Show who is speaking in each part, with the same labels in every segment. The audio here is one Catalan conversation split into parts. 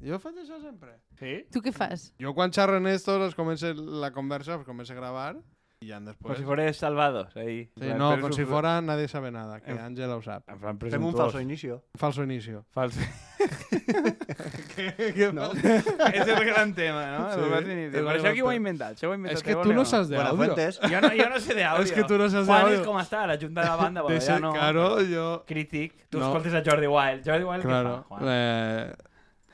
Speaker 1: Jo faig això sempre.
Speaker 2: Sí?
Speaker 3: Tu què fas?
Speaker 1: Jo quan xerro en esto, les comença la conversa, els comença a gravar i ja
Speaker 2: Como
Speaker 1: després...
Speaker 2: si fueres salvados ahí.
Speaker 1: Sí, no,
Speaker 2: Pero
Speaker 1: com
Speaker 2: su-
Speaker 1: si fora nadie sabe nada, que
Speaker 2: En-
Speaker 1: Àngela ho sap.
Speaker 2: En plan
Speaker 4: Fem un
Speaker 2: presuntuós.
Speaker 4: falso inicio.
Speaker 1: Falso inicio.
Speaker 2: Falso.
Speaker 4: No?
Speaker 2: És el gran tema, no?
Speaker 1: Sí,
Speaker 2: El falso inicio.
Speaker 1: el
Speaker 2: Per això
Speaker 1: gran
Speaker 2: qui ho ha
Speaker 1: tema.
Speaker 2: inventat? Això ho ha inventat
Speaker 1: És que
Speaker 2: Trevor
Speaker 1: tu no
Speaker 2: o
Speaker 1: saps
Speaker 4: Buena
Speaker 1: d'àudio.
Speaker 4: fuentes.
Speaker 2: Jo no, jo no sé d'àudio.
Speaker 1: És que tu no saps
Speaker 2: Juan
Speaker 1: d'àudio.
Speaker 2: és com està, la junta de la banda, però
Speaker 1: De
Speaker 2: ja
Speaker 1: ser
Speaker 2: no.
Speaker 1: caro, jo...
Speaker 2: Crític. Tu
Speaker 1: No.
Speaker 2: escoltes a Jordi Wild. Jordi Wild
Speaker 1: Claro.
Speaker 2: què fa, Juan?
Speaker 1: Eh,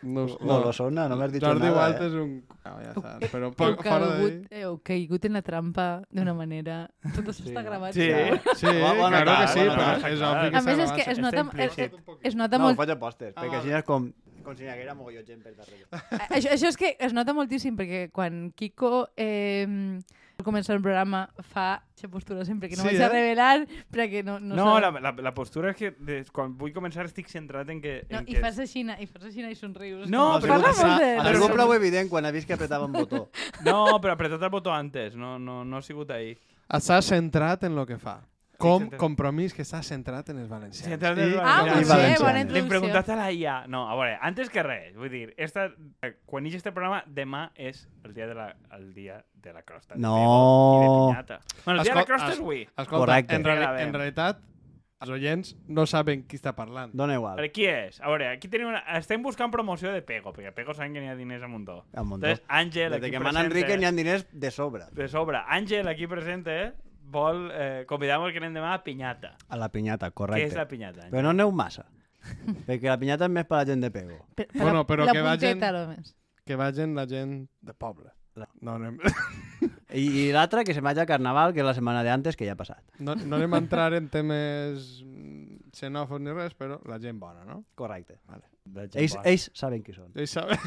Speaker 1: no,
Speaker 4: No, lo sona, no me has dicho
Speaker 1: Jordi
Speaker 4: nada.
Speaker 1: Wild
Speaker 4: eh.
Speaker 1: és un... No, ja saps, però
Speaker 3: Heu
Speaker 1: poc fora d'ahí...
Speaker 3: caigut, heu caigut en la trampa d'una manera... Tot això
Speaker 4: Sí,
Speaker 3: està
Speaker 4: no?
Speaker 3: gravat.
Speaker 2: Sí.
Speaker 3: ja.
Speaker 1: Sí,
Speaker 4: Va, bona
Speaker 1: claro que
Speaker 4: tarda,
Speaker 1: sí,
Speaker 4: bona
Speaker 1: però
Speaker 2: tarda.
Speaker 1: és obvi que
Speaker 3: A més, és
Speaker 1: s'avança.
Speaker 3: que es
Speaker 2: Està
Speaker 3: nota,
Speaker 2: implícit.
Speaker 3: es, es nota
Speaker 4: No, ho
Speaker 3: molt...
Speaker 4: faig a pòsters,
Speaker 1: Ah,
Speaker 4: perquè
Speaker 1: vale.
Speaker 4: així és com... Com si n'hi haguera mogolló gent per darrere.
Speaker 3: Això, això és que es nota moltíssim, perquè quan Kiko eh, al començar el programa fa aquesta postura sempre, que no
Speaker 1: Sí,
Speaker 3: sí, vaig a
Speaker 1: eh?
Speaker 3: revelar, perquè no... No,
Speaker 2: No, la,
Speaker 3: sap-
Speaker 2: la, la postura és que de, quan vull començar estic centrat en que...
Speaker 3: no
Speaker 2: en
Speaker 3: i
Speaker 2: que...
Speaker 3: fas així, i fas així i somrius.
Speaker 2: No,
Speaker 3: Com,
Speaker 2: però
Speaker 3: parla
Speaker 2: passa-
Speaker 3: molt de...
Speaker 4: Ha
Speaker 2: Però
Speaker 4: sigut
Speaker 2: som-
Speaker 4: prou evident quan ha vist que apretava un botó.
Speaker 2: No, però apretat el botó antes, no, no, no ha sigut ahir.
Speaker 1: Està centrat en lo que fa. Com
Speaker 2: centrat.
Speaker 1: compromís que està centrat en els valencians.
Speaker 2: Centrat
Speaker 1: I-
Speaker 2: en els
Speaker 3: Ah,
Speaker 2: valencians.
Speaker 3: molt
Speaker 4: I
Speaker 3: bé,
Speaker 4: valencians.
Speaker 3: bona
Speaker 2: Li
Speaker 3: introducció.
Speaker 2: preguntat a la IA. No, a veure, antes que res, vull dir, esta, eh, quan ix este programa, demà és el dia de la, el dia de la crosta. de
Speaker 4: No.
Speaker 2: Tebo i de pinyata. Bueno, el dia de la
Speaker 1: Escol-
Speaker 2: crosta
Speaker 1: es-
Speaker 2: és avui.
Speaker 1: Escolta,
Speaker 4: Correcte.
Speaker 1: en, reali
Speaker 2: Gravem.
Speaker 1: en realitat, els oients no saben qui està parlant.
Speaker 4: Dona igual.
Speaker 2: Però qui és? A veure, aquí tenim una... Estem buscant promoció de Pego, perquè Pego saben que n'hi ha diners a muntó.
Speaker 4: A muntó.
Speaker 2: Entonces, Àngel,
Speaker 4: Des de
Speaker 2: aquí
Speaker 4: que mana
Speaker 2: present...
Speaker 4: Enrique n'hi ha diners de sobre.
Speaker 2: De sobre. Àngel, aquí present, eh, vol... Eh, Convidar-nos que anem demà a Pinyata.
Speaker 4: A la pinyata, correcte.
Speaker 2: Què és la Pinyata?
Speaker 4: Però no aneu massa. perquè la pinyata és més per la gent de pego.
Speaker 3: Per, per
Speaker 1: Bueno,
Speaker 3: la-
Speaker 1: però
Speaker 3: la
Speaker 1: que vagin-
Speaker 3: punteta, només.
Speaker 1: Que vagin la gent de poble.
Speaker 4: La-
Speaker 1: No anem,
Speaker 4: I, i l'altra, que se vagi a Carnaval, que és la setmana d'antes, que ja ha passat.
Speaker 1: no, no anem a entrar en temes mm, xenòfobs ni res, però la gent bona, no?
Speaker 4: Correcte. Vale.
Speaker 2: La gent
Speaker 4: Ells,
Speaker 2: bona.
Speaker 4: ells saben qui són.
Speaker 1: Ells saben.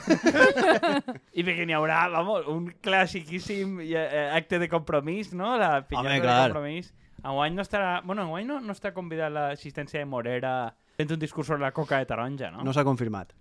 Speaker 2: I perquè n'hi haurà, vamos, un classiquíssim eh, eh, acte de compromís, no? La pinyata
Speaker 4: Home,
Speaker 2: de
Speaker 4: clar.
Speaker 2: compromís. Enguany no estarà... Bueno, enguany no, no està convidada l'assistència de Morera fent un discurs sobre la coca de taronja, no?
Speaker 4: No s'ha confirmat.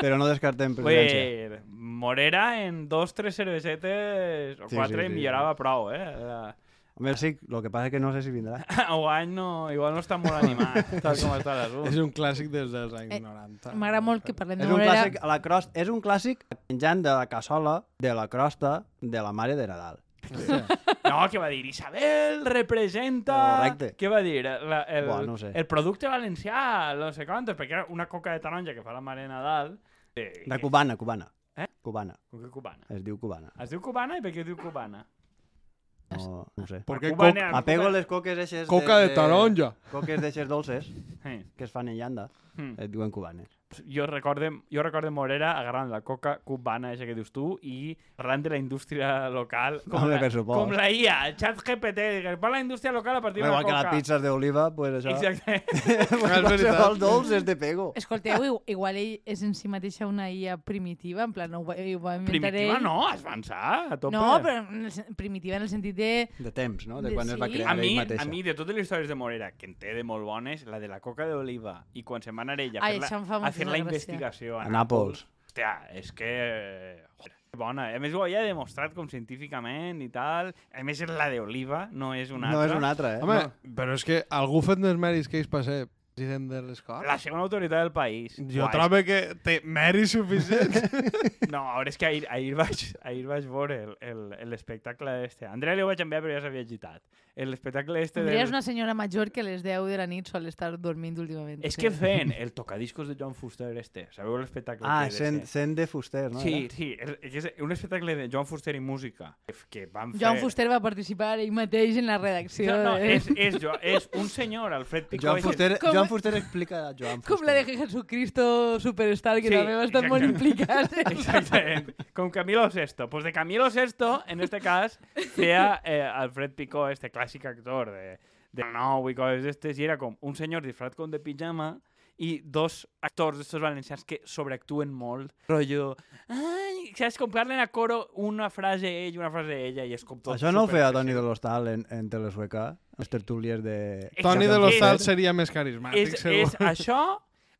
Speaker 4: Però no descartem
Speaker 2: Vull
Speaker 4: presidència.
Speaker 2: dir, Morera en dos, tres cervesetes o
Speaker 4: Sí,
Speaker 2: quatre
Speaker 4: sí, sí.
Speaker 2: millorava prou, eh? La...
Speaker 4: Home, sí, el que passa és que no sé si vindrà.
Speaker 2: Enguany no, igual no està molt animat, tal com està
Speaker 1: és
Speaker 2: l'assumpte.
Speaker 1: un clàssic des dels anys
Speaker 3: Eh,
Speaker 1: 90.
Speaker 3: M'agrada molt que parlem
Speaker 4: És
Speaker 3: de
Speaker 4: un
Speaker 3: Morera.
Speaker 4: clàssic, a la crosta, és un clàssic menjant de la cassola, de la crosta, de la mare de Nadal.
Speaker 2: No, què va dir? Isabel representa...
Speaker 4: Correcte.
Speaker 2: Què va dir? La, el,
Speaker 4: Buah, no ho sé.
Speaker 2: el producte valencià, no sé quantos, perquè era una coca de taronja que fa la mare Nadal... De,
Speaker 4: De cubana, cubana.
Speaker 2: Eh?
Speaker 4: Cubana,
Speaker 2: Com que cubana?
Speaker 4: es diu cubana.
Speaker 2: Es diu cubana i per què diu cubana?
Speaker 4: No, no ho sé.
Speaker 1: Perquè
Speaker 2: La
Speaker 1: coca,
Speaker 2: cubana-
Speaker 4: Apego les coques eixes...
Speaker 1: coca de taronja.
Speaker 4: Coques d'eixes dolces
Speaker 2: Sí.
Speaker 4: que es fan en llanda,
Speaker 2: Mm.
Speaker 4: es diuen cubanes.
Speaker 2: Eh, Jo recorde, jo recorde Morera agarrant la coca cubana, això que dius tu, i parlant de la indústria local, com,
Speaker 4: Home,
Speaker 2: la,
Speaker 4: per supost.
Speaker 2: com la IA, el xat GPT, que parla de la indústria local a partir de la
Speaker 4: Igual que
Speaker 2: coca.
Speaker 4: la pizza és d'oliva, pues això...
Speaker 2: Exacte.
Speaker 1: És
Speaker 4: Qualsevol
Speaker 1: veritat.
Speaker 4: dolç és de pego.
Speaker 3: Escolteu, i- igual ell és en si mateixa una IA primitiva, en plan, no ho, va- ho va inventar
Speaker 2: Primitiva
Speaker 3: ell.
Speaker 2: no, es va ençar a tope.
Speaker 3: No, però en el sen- primitiva en el sentit de...
Speaker 4: De temps, no? De
Speaker 3: De
Speaker 4: quan es va
Speaker 3: sí.
Speaker 4: crear
Speaker 2: a mi,
Speaker 4: ell
Speaker 2: a
Speaker 4: mateixa.
Speaker 2: mi, de totes les històries de Morera, que en té de molt bones, la de la coca d'oliva, i quan se'n va anar ella a fer
Speaker 3: Ai,
Speaker 2: la,
Speaker 3: això em fa
Speaker 2: a fer
Speaker 3: moltíssima
Speaker 2: la
Speaker 3: gràcia.
Speaker 2: investigació a
Speaker 4: A Nàpols.
Speaker 2: Hòstia, és que... Joder, que bona. A més, ho havia demostrat com científicament i tal. A més, és la d'oliva, no és una
Speaker 4: No és
Speaker 2: altra.
Speaker 4: una altra, eh?
Speaker 1: Home,
Speaker 4: No.
Speaker 1: però és que algú fet més mèrits que ells per ser president de les Corts.
Speaker 2: La segona autoritat del país.
Speaker 1: Jo
Speaker 2: Guai.
Speaker 1: trobo que té mèrits suficients.
Speaker 2: No, a veure, és que ahir, ahir, vaig, ahir vaig veure el- el- el l'espectacle este. A Andrea li ho vaig enviar, però ja s'havia agitat. L'espectacle este...
Speaker 3: Andrea és
Speaker 2: del-
Speaker 3: una senyora major que a les 10 de la nit sol estar dormint últimament.
Speaker 2: És que feien el tocadiscos de Joan Fuster este. Sabeu l'espectacle?
Speaker 4: Ah,
Speaker 2: que de
Speaker 4: sent,
Speaker 2: ser?
Speaker 4: sent de fuster, no?
Speaker 2: Sí, sí, el- que és un espectacle de Joan Fuster i música que f- que van fer...
Speaker 3: Joan Fuster va participar ell mateix en la redacció. eh?
Speaker 2: No, no,
Speaker 3: de-
Speaker 2: és, és, jo, és un senyor, Alfred
Speaker 4: Era?
Speaker 2: Picó...
Speaker 4: Joan
Speaker 2: és el-
Speaker 4: Fuster,
Speaker 3: Com-
Speaker 4: Joan Fuster explica a Joan Fuster.
Speaker 3: Com la de Jesucristo Superstar, que
Speaker 2: Sí,
Speaker 3: també va estar
Speaker 2: exacte.
Speaker 3: molt implicat.
Speaker 2: Exactament. Com Camilo Sesto. Pues de Camilo Sesto, en este cas, feia eh, Alfred Picó, este clàssic actor de, de nou i coses d'estes, i este, era com un senyor disfrat com de pijama i dos actors d'estos valencians que sobreactuen molt, rotllo... Ai, saps? Com parlen a coro una frase ell, una frase ella, i és com tot...
Speaker 4: Això no ho feia
Speaker 2: superexcessiu.
Speaker 4: Toni de l'Hostal en, en Telesueca, els tertúlies de...
Speaker 2: Exacte.
Speaker 1: Toni de
Speaker 4: Joan
Speaker 1: l'Hostal
Speaker 4: Fuster.
Speaker 1: seria més carismàtic,
Speaker 2: és,
Speaker 1: segur.
Speaker 2: és això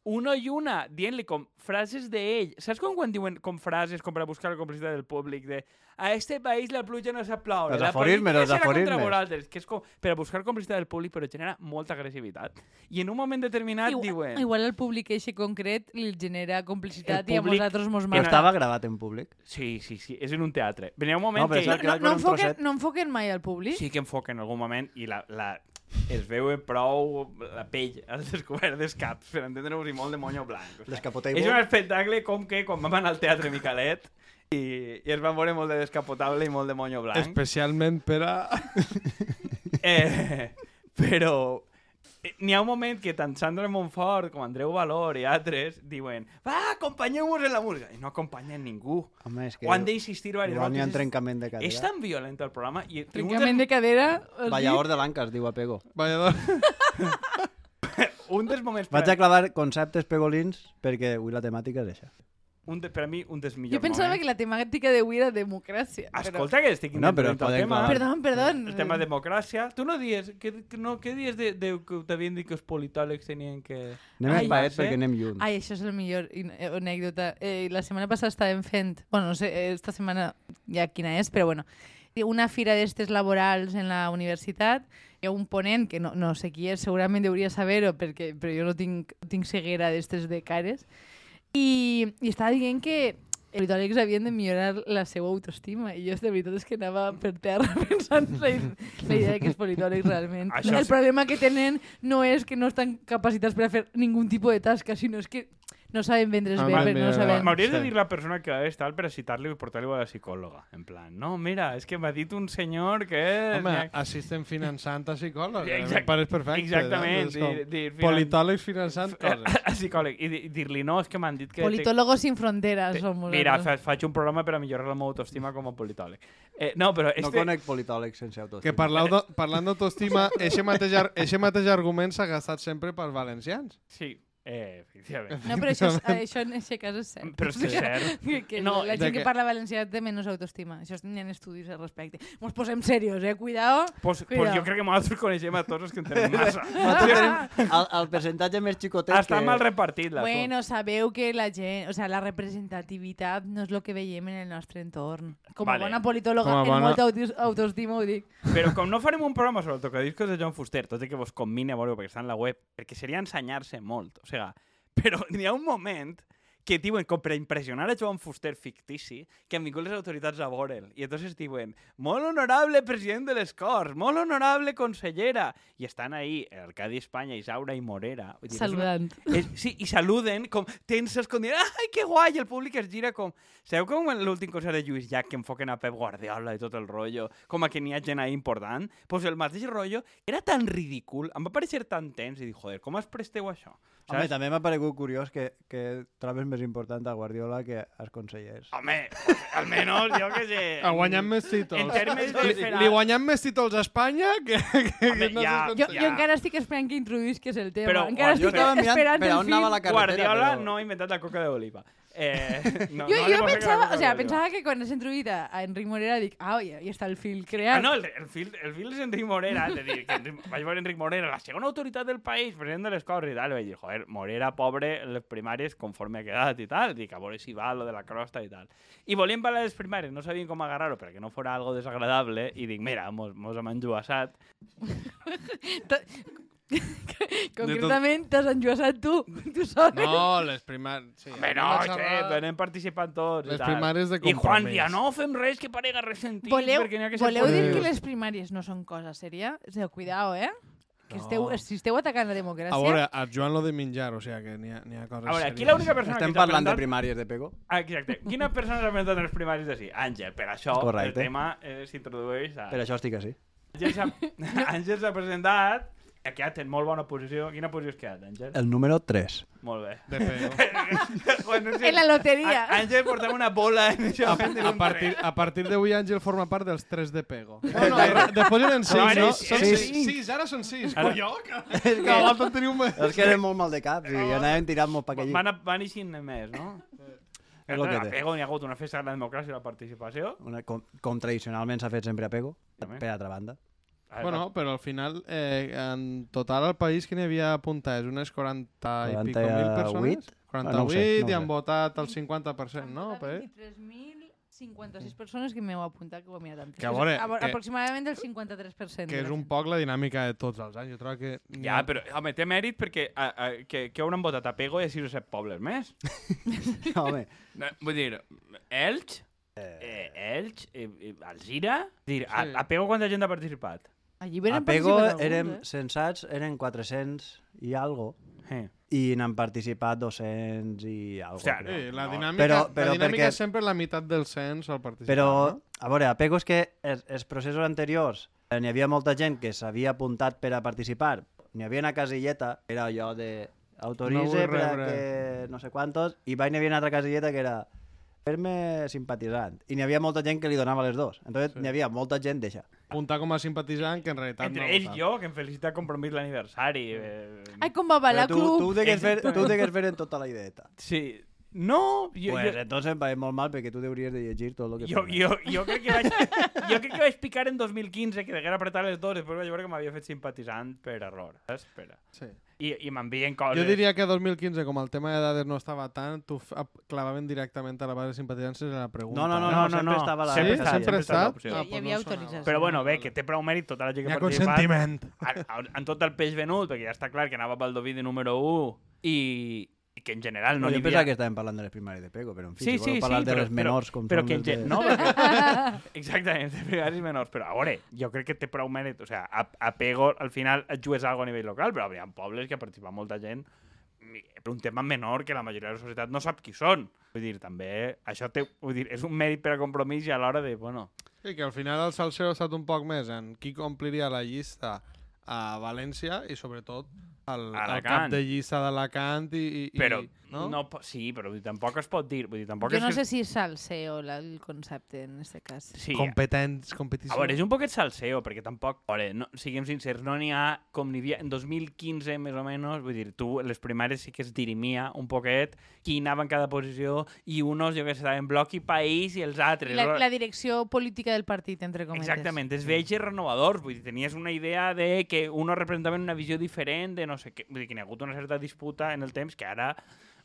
Speaker 2: una i una, dient-li com frases d'ell. Saps com quan diuen com frases com per a buscar la complicitat del públic de a este país la pluja no s'aplaura.
Speaker 4: Els
Speaker 2: la
Speaker 4: aforismes,
Speaker 2: política
Speaker 4: els
Speaker 2: serà contra
Speaker 4: aforismes.
Speaker 2: vosaltres", Que és com per a buscar complicitat del públic però genera molta agressivitat. I en un moment determinat diuen...
Speaker 3: igual al públic eixe concret li genera complicitat
Speaker 2: El
Speaker 3: i a
Speaker 2: públic-
Speaker 3: vosaltres mos
Speaker 4: Però
Speaker 3: mata.
Speaker 4: estava gravat en públic.
Speaker 2: Sí, sí, sí, és en un teatre. Venia un moment
Speaker 4: No, però
Speaker 2: que...
Speaker 4: és el-
Speaker 3: No,
Speaker 4: quedat
Speaker 3: no,
Speaker 4: con un
Speaker 3: enfoquen,
Speaker 4: trosset.
Speaker 3: no enfoquen mai al públic?
Speaker 2: sí que enfoca en algun moment i la, la, es veu prou la pell al descobert dels caps, per entendre-vos, i molt de moño blanc. O sigui,
Speaker 4: Descapotable.
Speaker 2: és un espectacle com que quan vam anar al teatre Micalet i, i es van veure molt de descapotable i molt de moño blanc.
Speaker 1: Especialment per a...
Speaker 2: Eh, però eh, n'hi ha un moment que tant Sandra Montfort com Andreu Valor i altres diuen va, acompanyeu-vos en la música. I no acompanyen ningú.
Speaker 4: Home, és que...
Speaker 2: Ho han d'existir diverses
Speaker 4: Igual n'hi ha
Speaker 2: voltes.
Speaker 4: un trencament de cadera.
Speaker 2: És tan violent el programa i i un dels
Speaker 3: Trencament de cadera... has
Speaker 4: Ballador de l'anca, es diu a Pego.
Speaker 1: Ballador.
Speaker 2: un dels moments per,
Speaker 4: Vaig a clavar conceptes pegolins perquè avui la temàtica és això.
Speaker 2: un de, per a mi un dels
Speaker 3: dit. Jo
Speaker 2: millors
Speaker 3: pensava que
Speaker 2: moments.
Speaker 3: la temàtica d'avui era democràcia. però-
Speaker 2: Escolta, que estic
Speaker 4: No,
Speaker 2: introduint
Speaker 4: però
Speaker 2: el
Speaker 4: poden
Speaker 2: tema.
Speaker 4: clavar.
Speaker 3: Perdón, perdón.
Speaker 2: El tema democràcia. Tu no dies... Que, que no, què dies de, de, que t'havien dit que els politòlegs tenien que...
Speaker 4: Anem
Speaker 3: Ai,
Speaker 4: a paet
Speaker 2: Mercè.
Speaker 4: perquè anem lluny.
Speaker 3: Ai, això és la millor in- eh, anècdota. Eh, la setmana passada estàvem fent... Bueno, no sé, eh, esta setmana ja quina és, però bueno. Una fira d'estes laborals en la universitat. Hi ha un ponent, que no, no sé qui és, segurament hauria saber-ho, perquè, però jo no tinc, tinc ceguera d'estes de cares. I, I estava dient que els politòlegs havien de millorar la seva autoestima. I jo, de veritat, és que anava per terra pensant la, i- la idea de que els politòlegs realment...
Speaker 2: Això
Speaker 3: el
Speaker 2: sí.
Speaker 3: problema que tenen no és que no estan capacitats per a fer ningú tipus de tasca, sinó és que no saben vendre's
Speaker 1: Ah,
Speaker 3: bé,
Speaker 1: vale,
Speaker 3: però no
Speaker 1: vale,
Speaker 3: saben...
Speaker 1: vale.
Speaker 2: M'hauries de
Speaker 1: Sí.
Speaker 2: dir la persona que és tal per a citar-li i portar-li a la psicòloga. En plan, no, mira, és que m'ha dit un senyor que... és-
Speaker 1: Home, així estem finançant a psicòlegs.
Speaker 2: Exacte.
Speaker 1: Em pareix perfecte.
Speaker 2: Exactament,
Speaker 1: Doncs com,
Speaker 2: dir- dir finan-
Speaker 1: Politòlegs finançant coses.
Speaker 2: a psicòleg. I, di- dir-li, no, és que m'han dit que... te-
Speaker 3: Politólogos sin fronteras,
Speaker 2: te-
Speaker 3: som
Speaker 2: Mira,
Speaker 3: vosaltres.
Speaker 2: fa, faig un programa per a millorar la meva autoestima com a politòleg. Eh, no, però...
Speaker 4: No
Speaker 2: Este...
Speaker 4: conec politòlegs sense autoestima.
Speaker 1: Que parlau de, parlant d'autoestima, eixe mateix, ar- eixe mateix argument s'ha gastat sempre pels valencians.
Speaker 2: Sí, eh, efectivament.
Speaker 3: No, però això, és, això en aquest cas és cert.
Speaker 2: Però és que és cert.
Speaker 3: Que, que
Speaker 2: No,
Speaker 3: no, la
Speaker 1: de
Speaker 3: gent que...
Speaker 1: que-
Speaker 3: parla valencià té menys autoestima. Això n'hi ha estudis al respecte. Mos posem serios, eh? Cuidao.
Speaker 2: Pues, pues
Speaker 3: Cuidao.
Speaker 2: jo crec que nosaltres coneixem a tots els que en tenim massa.
Speaker 4: Nosaltres tenim el, el percentatge més xicotet
Speaker 2: Està
Speaker 4: que...
Speaker 2: mal repartit, la
Speaker 3: Bueno, sabeu que la gent... O sea, la representativitat no és el que veiem en el nostre entorn. Com a
Speaker 2: Vale.
Speaker 3: bona politòloga,
Speaker 1: Com a
Speaker 3: amb
Speaker 1: bona-
Speaker 3: molta autos- autoestima ho dic.
Speaker 2: Però com no farem un programa sobre el tocadiscos de John Fuster, tot i que vos convine a veure perquè està en la web, perquè seria ensenyar-se molt. O sigui, però n'hi ha un moment que diuen, com per impressionar a Joan Fuster fictici, que han vingut les autoritats a veure'l. I entonces diuen, molt honorable president de les Corts, molt honorable consellera. I estan ahí el Cadi Espanya, Isaura i Morera. Vull dir, és una-
Speaker 3: Saludant.
Speaker 2: És, Eh, sí, i saluden com tenses, com dient, ai, que guai, el públic es gira com... Sabeu com en l'últim concert de Lluís Llach que enfoquen a Pep Guardiola i tot el rollo, com a que n'hi ha gent ahí important? Doncs pues el mateix rollo era tan ridícul, em va parecer tan tens i dic, joder, com es presteu això?
Speaker 4: Home,
Speaker 2: Saps?
Speaker 4: també m'ha paregut curiós que, que trobes més important a Guardiola que els consellers.
Speaker 2: Home, almenys, jo què sé...
Speaker 1: Ha guanyat més
Speaker 2: Eh, En
Speaker 1: títols.
Speaker 2: termes de...
Speaker 1: Li, li guanyat més títols a Espanya que... que
Speaker 2: Home,
Speaker 1: no
Speaker 2: ja-
Speaker 1: se'ls
Speaker 3: Jo,
Speaker 1: conta.
Speaker 2: Ja.
Speaker 3: jo encara estic esperant que introduïsques el tema.
Speaker 2: Però
Speaker 3: encara
Speaker 2: jo
Speaker 3: estic
Speaker 2: estava
Speaker 4: mirant
Speaker 3: esperant
Speaker 4: per a
Speaker 3: el
Speaker 4: on anava
Speaker 3: fil.
Speaker 4: la ca- carretera,
Speaker 2: Guardiola
Speaker 4: però-
Speaker 2: no ha inventat la coca d'oliva. Eh, no,
Speaker 3: Jo,
Speaker 2: no li posa que
Speaker 3: jo
Speaker 2: la
Speaker 3: pensava,
Speaker 2: coca
Speaker 3: o sea,
Speaker 2: d'oliva.
Speaker 3: pensava que quan has introduït a a Enric Morera dic, ah, ja, ja està el fil
Speaker 2: Ah,
Speaker 3: creat.
Speaker 2: no, el, el, fil, el fil és Enric Morera, és a dir, que Enric, vaig veure Enric Morera, la segona autoritat del país, president de les Corts i tal, i vaig dir, joder, Morera, pobre, les primàries, conforme ha quedat i tal, dic, a veure si va lo de la crosta i tal. I volien parlar de les primàries, no sabien com agarrar-ho perquè no fora algo desagradable, i dic, mira, mos, mos hem enjoassat.
Speaker 3: Concretament, t'has enjuassat tu, tu sol.
Speaker 1: No, les primàries... Sí,
Speaker 2: Bé, no, que anem participant tots
Speaker 1: Les
Speaker 2: i tal.
Speaker 1: primàries de
Speaker 2: I Juan
Speaker 1: compromís.
Speaker 2: dia, no fem res que parega ressentit,
Speaker 3: Voleu,
Speaker 2: perquè n'hi ha que ser
Speaker 3: voleu dir que
Speaker 2: furiosos."
Speaker 3: les primàries no són cosa sèria? O sigui, cuidao, eh? Que esteu, si esteu atacant la democràcia...
Speaker 1: A veure, a Joan lo de menjar, o sigui que n'hi ha, n'hi ha coses
Speaker 2: A veure, aquí
Speaker 1: serioses.
Speaker 2: l'única persona que
Speaker 4: Estem
Speaker 2: ens ha
Speaker 4: parlant de
Speaker 2: presentat-
Speaker 4: primàries de Pego?
Speaker 2: Ah, Exacte. Quina persona s'ha presentat en els primaris d'ací? Àngel. Per això
Speaker 4: Correcte.
Speaker 2: el tema eh, s'introdueix a...
Speaker 4: Per això estic així.
Speaker 2: Àngel s'ha Àngel s'ha presentat i ha quedat en molt bona posició. Quina posició has quedat, Àngel?
Speaker 4: El número 3.
Speaker 2: Molt bé.
Speaker 1: De Pego.
Speaker 2: bueno, sí.
Speaker 3: En la loteria.
Speaker 2: A Àngel portava una bola en això.
Speaker 1: A, a partir, a partir d'avui Àngel forma part dels 3 de Pego. No, no,
Speaker 4: Ara-
Speaker 1: després eren 6,
Speaker 2: ara
Speaker 1: no?
Speaker 2: és-
Speaker 1: Són
Speaker 4: és
Speaker 1: 6,
Speaker 4: cinc.
Speaker 1: ara són 6.
Speaker 2: Ara-
Speaker 1: Colló, que...
Speaker 4: És
Speaker 1: que abans en teniu més.
Speaker 4: És que eren molt mal de cap i anàvem tirant molt pa aquell.
Speaker 2: Van, a- van eixint més, no?
Speaker 4: És lo que
Speaker 2: A
Speaker 4: té.
Speaker 2: Pego n'hi ha hagut una festa de la democràcia i la participació.
Speaker 4: Una, com, com tradicionalment s'ha fet sempre a Pego,
Speaker 2: També.
Speaker 4: per altra banda.
Speaker 1: Bueno, però al final, eh, en total al país que n'hi havia a apuntar és unes 40 Ah, i pico mil persones.
Speaker 4: 48?
Speaker 1: 48
Speaker 4: Ah, no ho sé, no ho
Speaker 1: i han
Speaker 4: sé.
Speaker 1: votat el 50%, no? Per...
Speaker 3: 23.056 persones que m'heu apuntat que ho he mirat antes.
Speaker 1: Que a veure,
Speaker 3: Abo-
Speaker 1: que-
Speaker 3: aproximadament el 53%.
Speaker 1: Que és un poc la dinàmica de tots els anys. Jo trobo que...
Speaker 2: Ja, però, home, té mèrit perquè a, a, que, que hauran votat a Pego i a 6 o 7 pobles més.
Speaker 4: Home,
Speaker 2: No, Vull dir, Elx, eh, Elx, eh, eh, Alzira... Dir, a,
Speaker 1: Sí.
Speaker 2: a Pego quanta gent ha participat?
Speaker 3: Allí
Speaker 4: a
Speaker 3: venen
Speaker 4: Pego
Speaker 3: participat alguns,
Speaker 4: érem
Speaker 3: Eh?
Speaker 4: sensats, eren 400 i algo,
Speaker 2: Eh.
Speaker 4: i n'han participat 200 i algo.
Speaker 2: Hòstia,
Speaker 4: crec.
Speaker 1: Sí, eh, la
Speaker 2: No.
Speaker 1: dinàmica,
Speaker 4: Però-
Speaker 1: la
Speaker 4: però
Speaker 1: dinàmica
Speaker 4: perquè-
Speaker 1: és sempre la meitat del cens al participant.
Speaker 4: Però,
Speaker 1: no?
Speaker 4: a veure, a Pego és que els, els processos anteriors eh, n'hi havia molta gent que s'havia apuntat per a participar. N'hi havia una casilleta, que era allò de
Speaker 1: No
Speaker 4: autoritze
Speaker 1: vull
Speaker 4: no per a
Speaker 1: rebre.
Speaker 4: que no sé quantos, i va, i n'hi havia una altra casilleta que era fer-me simpatitzant. I n'hi havia molta gent que li donava les dues. Entonces
Speaker 1: Sí.
Speaker 4: sí. n'hi havia molta gent d'això.
Speaker 1: Apuntar com a simpatitzant, que en realitat
Speaker 2: Entre
Speaker 1: no
Speaker 2: ells
Speaker 1: votar.
Speaker 2: i jo, que hem felicitat Compromís l'aniversari. Eh,
Speaker 3: Ai, com va ballar
Speaker 4: tu, tu, ho
Speaker 3: club.
Speaker 4: degues fer, tu ho
Speaker 2: Exactament.
Speaker 4: degues fer en tota la ideeta.
Speaker 2: Sí. No, jo,
Speaker 4: pues eh,
Speaker 2: jo,
Speaker 4: entonces em va molt mal perquè tu deuries de llegir tot el que
Speaker 2: jo,
Speaker 4: feia.
Speaker 2: jo, jo, crec que vaig, jo crec que vaig picar en 2015, que deguera apretar les dos, després vaig veure que m'havia fet simpatitzant per error. Espera.
Speaker 1: Sí.
Speaker 2: I, i m'envien coses.
Speaker 1: Jo diria que 2015, com el tema de dades no estava tant, tu f- ap- clavaven directament a la base de simpatitzants era la pregunta. eh?
Speaker 4: No, no, no,
Speaker 2: No,
Speaker 4: no,
Speaker 2: no,
Speaker 4: sempre
Speaker 2: no.
Speaker 4: estava la...
Speaker 1: Sí?
Speaker 2: Sempre
Speaker 1: Sempre,
Speaker 2: està,
Speaker 1: sempre
Speaker 2: sempre
Speaker 1: ha
Speaker 2: està
Speaker 1: estat? Ah,
Speaker 2: l'opció.
Speaker 3: Hi havia
Speaker 1: sonava.
Speaker 3: autorització.
Speaker 2: Però bueno, bé, que té prou mèrit tota la gent
Speaker 1: Hi
Speaker 2: que ha
Speaker 1: ha
Speaker 2: participat.
Speaker 1: consentiment.
Speaker 2: en, en- en tot el peix venut, perquè ja està clar que anava pel Dovidi número 1 i, i que en general no
Speaker 4: No,
Speaker 2: n'hi
Speaker 4: jo
Speaker 2: havia...
Speaker 4: pensava que estàvem parlant de les primàries de Pego, però en fi,
Speaker 2: Sí, sí,
Speaker 4: si voleu
Speaker 2: sí,
Speaker 4: parlar de
Speaker 2: però-
Speaker 4: les menors...
Speaker 2: però,
Speaker 4: com
Speaker 2: però
Speaker 4: són
Speaker 2: que en
Speaker 4: les de-
Speaker 2: gen... No, perquè... Exactament, de primaris menors. Però a veure, jo crec que té prou mèrit. O sigui, a, a Pego al final et jugues alguna cosa a nivell local, però hi ha pobles que participa molta gent mi- per un tema menor que la majoria de la societat no sap qui són. Vull dir, també, això té, vull dir, és un mèrit per a compromís i a l'hora de, bueno,
Speaker 1: Sí, que al final el salseo ha estat un poc més en qui compliria la llista a València i sobretot el, el cap
Speaker 2: Alacant.
Speaker 1: de llista d'Alacant i, i, i...
Speaker 2: però
Speaker 1: No?
Speaker 2: no? po- sí, però vull dir, tampoc es pot dir, vull dir, tampoc
Speaker 3: Jo
Speaker 2: és
Speaker 3: no
Speaker 2: que-
Speaker 3: sé si és salseo la- el concepte en aquest cas.
Speaker 2: Sí,
Speaker 1: Competents,
Speaker 2: A
Speaker 1: competició...
Speaker 2: veure, és un poquet salseo, perquè tampoc... A veure, no, siguem sincers, no n'hi ha com n'hi havia en 2015, més o menys, vull dir, tu, les primàries sí que es dirimia un poquet qui anava en cada posició i unos, jo que sé, estaven bloc i país i els altres.
Speaker 3: La, la direcció política del partit, entre cometes.
Speaker 2: Exactament, és viatges renovadors, vull dir, tenies una idea de que uno representava una visió diferent de no sé què, vull dir que n'hi ha hagut una certa disputa en el temps que ara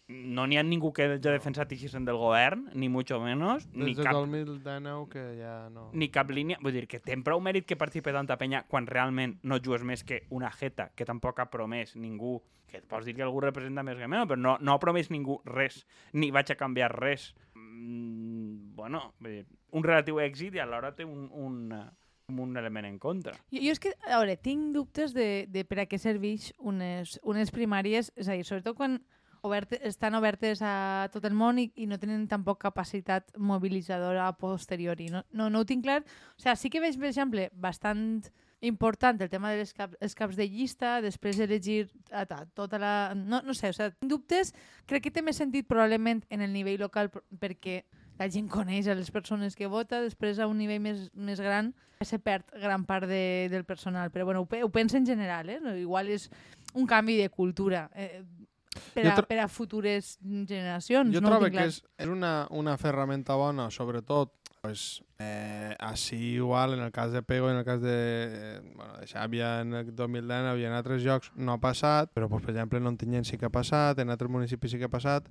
Speaker 2: no n'hi ha ningú que ja defensat i del govern, ni mucho menos, ni
Speaker 1: Des de
Speaker 2: cap
Speaker 1: 2019 que ja no...
Speaker 2: ni cap línia. Vull dir que té prou mèrit que participe tanta penya quan realment no jugues més que una jeta que tampoc ha promès ningú. Que et pots dir que algú representa més que menys, però no, no ha promès ningú res, ni vaig a canviar res. Mm, bueno, vull dir, un relatiu èxit i alhora té un, un, eh, com un element en contra.
Speaker 3: Jo, jo és que, a veure, tinc dubtes de, de per a què serveix unes, unes primàries, és a dir, sobretot quan obert, estan obertes a tot el món i, i no tenen tampoc capacitat mobilitzadora a posteriori. No, no, no ho tinc clar. O sigui, sí que veig, per exemple, bastant important el tema dels cap, els caps de llista, després d'elegir a ta- tota la... No, no sé, o sigui, tinc dubtes. Crec que té més sentit probablement en el nivell local per- perquè la gent coneix a les persones que vota, després a un nivell més, més gran se perd gran part de, del personal, però bueno, ho, pe- ho penso en general, eh? No, Igual és un canvi de cultura eh, per,
Speaker 1: Jo
Speaker 3: a,
Speaker 1: tro-
Speaker 3: per a futures generacions.
Speaker 1: Jo
Speaker 3: no ho
Speaker 1: trobo
Speaker 3: tinc
Speaker 1: que
Speaker 3: clar.
Speaker 1: és, és una, una ferramenta bona, sobretot pues, eh, així igual en el cas de Pego, en el cas de, eh, bueno, de Xàbia en el 2010, havia en altres llocs, no ha passat, però pues, per exemple en Ontinyent sí que ha passat, en altres municipis sí que ha passat,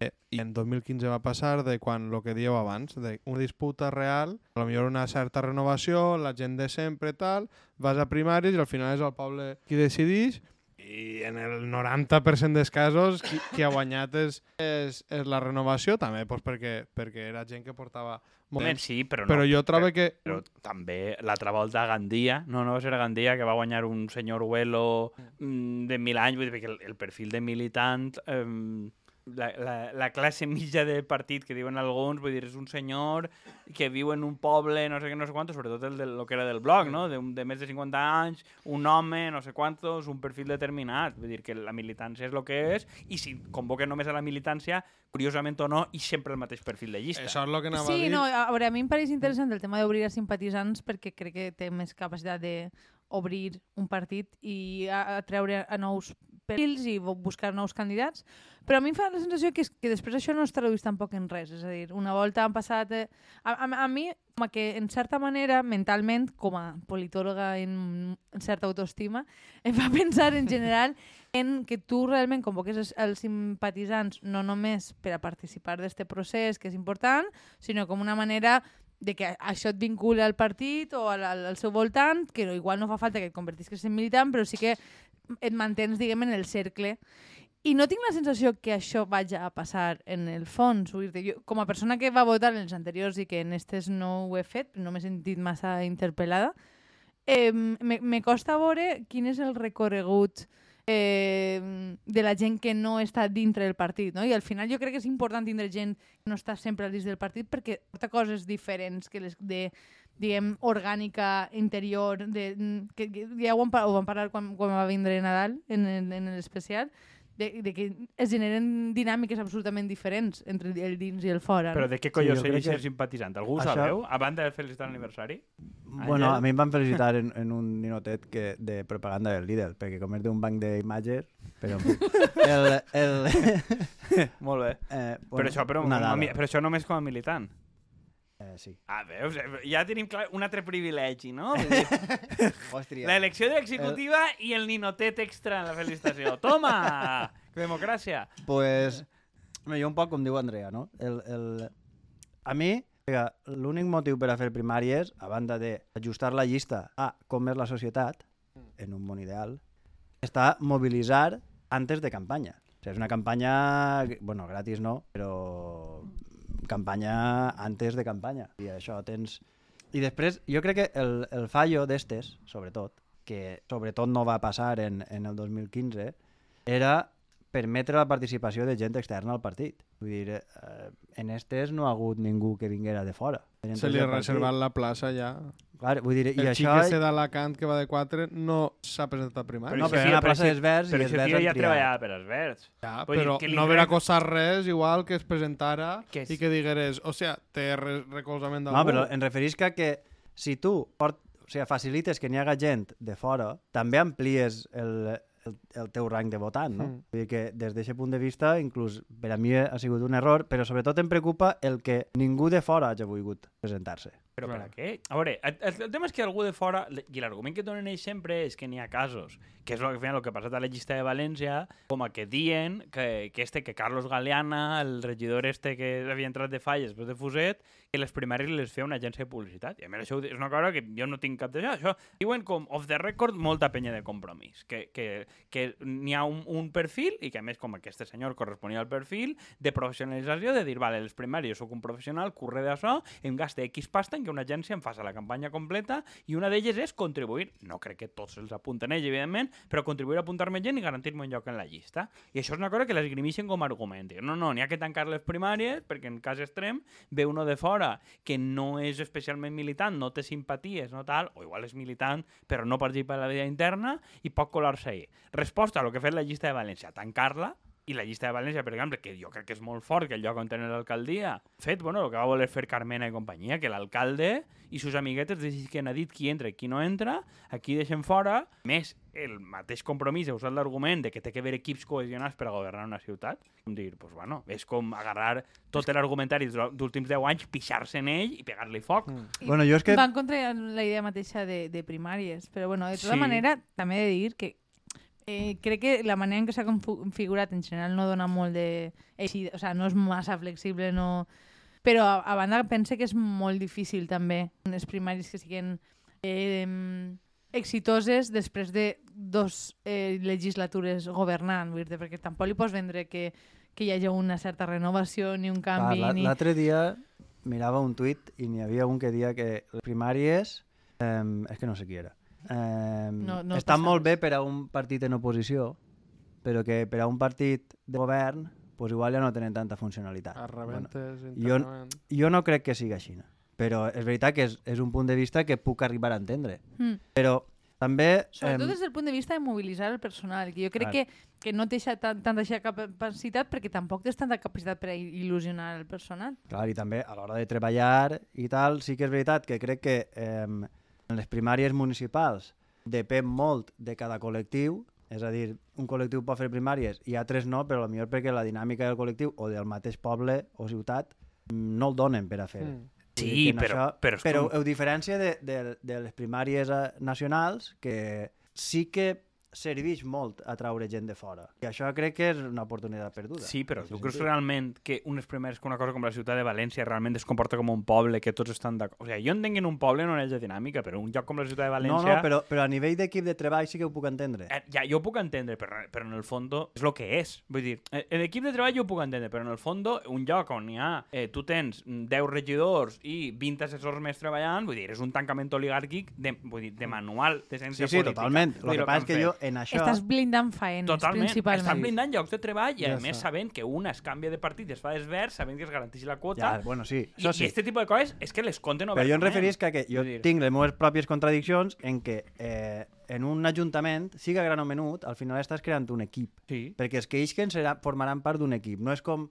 Speaker 1: eh, i en 2015 va passar de quan lo que dieu abans, de una disputa real, a lo millor una certa renovació, la gent de sempre tal, vas a primàries i al final és el poble qui decideix i en el 90% dels casos qui, qui ha guanyat és, és, és la renovació també doncs perquè, perquè era gent que portava molt
Speaker 2: Moment,
Speaker 1: temps.
Speaker 2: sí, però, no,
Speaker 1: Però jo trobo que...
Speaker 2: però també l'altra volta a Gandia, no, no va ser a Gandia, que va guanyar un senyor Huelo mm, de mil anys, vull dir, perquè el, el perfil de militant, eh, la, la, la classe mitja del partit que diuen alguns, vull dir, és un senyor que viu en un poble, no sé què, no sé quantos, sobretot el, de, lo que era del blog, no? De, un- de més de 50 anys, un home, no sé quantos, un perfil determinat, vull dir que la militància és el que és, i si convoquen només a la militància, curiosament o no, i sempre el mateix perfil de llista.
Speaker 1: Això és el que anava a
Speaker 3: Sí,
Speaker 1: dir.
Speaker 3: no, a veure, a mi em pareix interessant el tema d'obrir a simpatitzants perquè crec que té més capacitat d'obrir un partit i a- atreure a nous perfils i bu- buscar nous candidats, però a mi em fa la sensació que, és, que després això no es tradueix tampoc en res, és a dir, una volta han passat... Eh, a, a, a mi, com a que en certa manera, mentalment, com a politòloga en, en certa autoestima, em fa pensar en general en que tu realment convoques els, els simpatitzants no només per a participar d'aquest procés, que és important, sinó com una manera de que això et vincula al partit o al, al, al seu voltant, que no, igual no fa falta que et convertisques en militant, però sí que et mantens, diguem, en el cercle. I no tinc la sensació que això vagi a passar en el fons. Vull dir, jo, com a persona que va votar en els anteriors i que en aquests no ho he fet, no m'he sentit massa interpel·lada, eh, me, me costa veure quin és el recorregut eh, de la gent que no està dintre del partit. No? I al final jo crec que és important tindre gent que no està sempre dins del partit perquè porta coses diferents que les de diguem, orgànica, interior, de, que, que ja ho vam, par- ho vam parlar quan, quan va vindre Nadal en, el- en l'especial, de, de que es generen dinàmiques absolutament diferents entre el dins i el fora.
Speaker 2: Però
Speaker 3: no?
Speaker 2: de què
Speaker 4: jo
Speaker 2: collons sí,
Speaker 4: crec
Speaker 2: segueix
Speaker 4: que
Speaker 2: sent simpatitzant? Algú ho
Speaker 4: això-
Speaker 2: sabeu? A banda de felicitar l'aniversari?
Speaker 4: Bueno,
Speaker 2: Àngel?
Speaker 4: a mi em van felicitar en, en un ninotet que, de propaganda del Lidl, perquè com és d'un banc d'imatges... Però, en fi. el, el,
Speaker 2: Molt bé.
Speaker 4: eh,
Speaker 2: Però això, però,
Speaker 4: una
Speaker 2: com
Speaker 4: dada.
Speaker 2: a mi- però això només com a militant.
Speaker 4: Eh, sí.
Speaker 2: Ah, veus? Eh, Ja tenim clar un altre privilegi, no? Vull dir,
Speaker 4: Hòstia.
Speaker 2: L'elecció de l'executiva i el ninotet extra en la felicitació. Toma! Democràcia.
Speaker 4: Pues, bé, jo un poc com diu Andrea, no? El, el... A mi, vinga, l'únic motiu per a fer primàries, a banda d'ajustar la llista a com és la societat, en un món ideal, està mobilitzar antes de campanya. O sigui, és una campanya, bueno, gratis no, però campanya antes de campanya. I això tens... I després, jo crec que el, el fallo d'estes, sobretot, que sobretot no va passar en, en el 2015, era permetre la participació de gent externa al partit. Vull dir, eh, en estes no ha hagut ningú que vinguera de fora. Gent
Speaker 1: Se li
Speaker 4: del
Speaker 1: ha
Speaker 4: partit.
Speaker 1: reservat la plaça ja.
Speaker 4: Clar, vull dir,
Speaker 1: El
Speaker 4: i
Speaker 1: xic
Speaker 4: això...
Speaker 1: ese d'Alacant que va de 4 no s'ha presentat a primària.
Speaker 4: No,
Speaker 2: Però
Speaker 4: però
Speaker 2: sí,
Speaker 4: era una
Speaker 2: però
Speaker 4: plaça
Speaker 2: sí,
Speaker 4: dels verds
Speaker 2: Però
Speaker 4: i els
Speaker 2: això
Speaker 4: verds
Speaker 2: tio
Speaker 4: han
Speaker 2: ja
Speaker 4: triat.
Speaker 2: treballava per als verds.
Speaker 1: Ja,
Speaker 2: Vull dir,
Speaker 1: però
Speaker 2: que li
Speaker 1: no verà
Speaker 2: rec-
Speaker 1: costar res igual que es presentara
Speaker 2: Que és-
Speaker 1: i que digueres, o sea, té re- recolzament d'algú.
Speaker 4: No, però en referisca que si tu port, o sigui, facilites que n'hi haga gent de fora, també amplies el, el, el teu rang de votant, no?
Speaker 1: Mm.
Speaker 4: Vull dir que des d'aquest punt de vista, inclús per a mi ha sigut un error, però sobretot em preocupa el que ningú de fora hagi volgut presentar-se.
Speaker 2: Però per
Speaker 1: Clar.
Speaker 2: a què? A veure, el, el el tema és que algú de fora... I l'argument que donen ells sempre és que n'hi ha casos, que és lo que, al final, el que ha passat a la llista de València, com a que dient que, que este, que Carlos Galeana, el regidor este que havia entrat de falles després de Fuset, que les primàries les feia una agència de publicitat. I a més això ho di- és una cosa que jo no tinc cap d'això. Això diuen com off the record molta penya de compromís, que, que, que n'hi ha un, un perfil i que a més com aquest senyor corresponia al perfil de professionalització, de dir, vale, les primàries soc un professional, corre d'això, em gasta X pasta en que una agència em faci la campanya completa i una d'elles és contribuir, no crec que tots els apunten ells, evidentment, però contribuir a apuntar-me gent i garantir-me un lloc en la llista. I això és una cosa que l'esgrimixen com a argument. Diuen, No, no, n'hi ha que tancar les primàries perquè en cas extrem ve uno de fora que no és especialment militant, no té simpaties, no tal, o igual és militant però no participa en la vida interna i pot colar-se-hi. Resposta a lo que ha fet la llista de València, tancar-la i la llista de València, per exemple, que jo crec que és molt fort, que el lloc on tenen l'alcaldia, fet, bueno, el que va voler fer Carmena i companyia, que l'alcalde i sus amiguetes decidisquen a dit qui entra i qui no entra, aquí deixen fora, més el mateix compromís ha usat l'argument de que té que haver equips cohesionats per a governar una ciutat, com dir, pues bueno, és com agarrar tot l'argumentari d'últims 10 anys, pixar-se en ell i pegar-li foc. Mm.
Speaker 3: I
Speaker 4: Bueno, jo és que...
Speaker 3: Van contra la idea mateixa de, de primàries, però bueno, de tota
Speaker 2: Sí.
Speaker 3: sí. manera, també he de dir que eh, crec que la manera en què s'ha confu- configurat en general no dona molt de... Eixida, o sigui, no és massa flexible, no... Però a, a banda pense que és molt difícil també unes primàries que siguin eh, exitoses després de dos eh, legislatures governant, vull dir, perquè tampoc li pots vendre que, que hi hagi una certa renovació ni un
Speaker 4: Clar,
Speaker 3: canvi.
Speaker 4: la-
Speaker 3: ni...
Speaker 4: L'altre dia mirava un tuit i n'hi havia un que dia que les primàries... Eh, és que no sé qui era. Eh,
Speaker 3: No- no
Speaker 4: estan
Speaker 3: passa
Speaker 4: molt bé
Speaker 3: res.
Speaker 4: per a un partit en oposició, però que per a un partit de govern pues igual ja no tenen tanta funcionalitat.
Speaker 1: Es rebentes
Speaker 4: jo-
Speaker 1: internament.
Speaker 4: jo no crec que sigui així, no. però és veritat que és, és un punt de vista que puc arribar a entendre.
Speaker 3: Mm.
Speaker 4: Però també...
Speaker 3: Sobretot
Speaker 4: em,
Speaker 3: des del punt de vista de mobilitzar el personal, que jo crec
Speaker 4: Clar.
Speaker 3: que, que no té xa- tan, tanta xa- capacitat perquè tampoc tens tanta capacitat per a il·lusionar el personal.
Speaker 4: Clar, i també a l'hora de treballar i tal, sí que és veritat que crec que eh, en les primàries municipals depèn molt de cada col·lectiu, És a dir, un col·lectiu pot fer primàries i altres no, però millor perquè la dinàmica del col·lectiu o del mateix poble o ciutat no el donen per a fer.
Speaker 1: Mm.
Speaker 4: Vull dir
Speaker 2: Sí,
Speaker 4: que en
Speaker 2: però- però és
Speaker 4: però
Speaker 2: com-
Speaker 4: a diferència de, de, de les primàries eh, nacionals, que sí que serveix molt a traure gent de fora. I això crec que és una oportunitat perduda.
Speaker 2: Sí, però
Speaker 4: en
Speaker 2: tu
Speaker 4: aquest
Speaker 2: creus
Speaker 4: sentit.
Speaker 2: realment que unes primeres que una cosa com la ciutat de València realment es comporta com un poble, que tots estan d'acord? O sigui, jo entenc que en un poble no és de dinàmica, però un lloc com la ciutat de València...
Speaker 4: No, no, però, però a nivell d'equip de treball sí que ho puc entendre.
Speaker 2: Eh, Ja, jo ho puc entendre, però, però en el fondo és el que és. Vull dir, eh, l'equip de treball jo ho puc entendre, però en el fondo un lloc on hi ha, eh, tu tens mm, 10 regidors i 20 assessors més treballant, vull dir, és un tancament oligàrquic de, vull dir, de manual, de
Speaker 4: Sí,
Speaker 2: ciència
Speaker 4: sí,
Speaker 2: política.
Speaker 4: totalment. El
Speaker 2: Vull dir,
Speaker 4: que passa
Speaker 2: han
Speaker 4: és que
Speaker 2: fet.
Speaker 4: jo en això...
Speaker 3: Estàs blindant faenes,
Speaker 2: Totalment.
Speaker 3: principalment.
Speaker 2: Estan blindant llocs de treball i, a
Speaker 1: Ja
Speaker 2: més,
Speaker 1: està.
Speaker 2: sabent que una es canvia de partit i es fa desvers, sabent que es garanteix la quota...
Speaker 4: Ja, bueno, sí.
Speaker 2: I,
Speaker 4: Això
Speaker 2: I
Speaker 4: sí.
Speaker 2: este tipus de coses és que les conten
Speaker 4: Però jo em
Speaker 2: obertament.
Speaker 4: referís que, que jo
Speaker 2: Vull dir-
Speaker 4: tinc les meves pròpies contradiccions en què eh, en un ajuntament, siga gran o menut, al final estàs creant un equip.
Speaker 2: Sí.
Speaker 4: Perquè els que isquen serà, formaran part d'un equip. No és com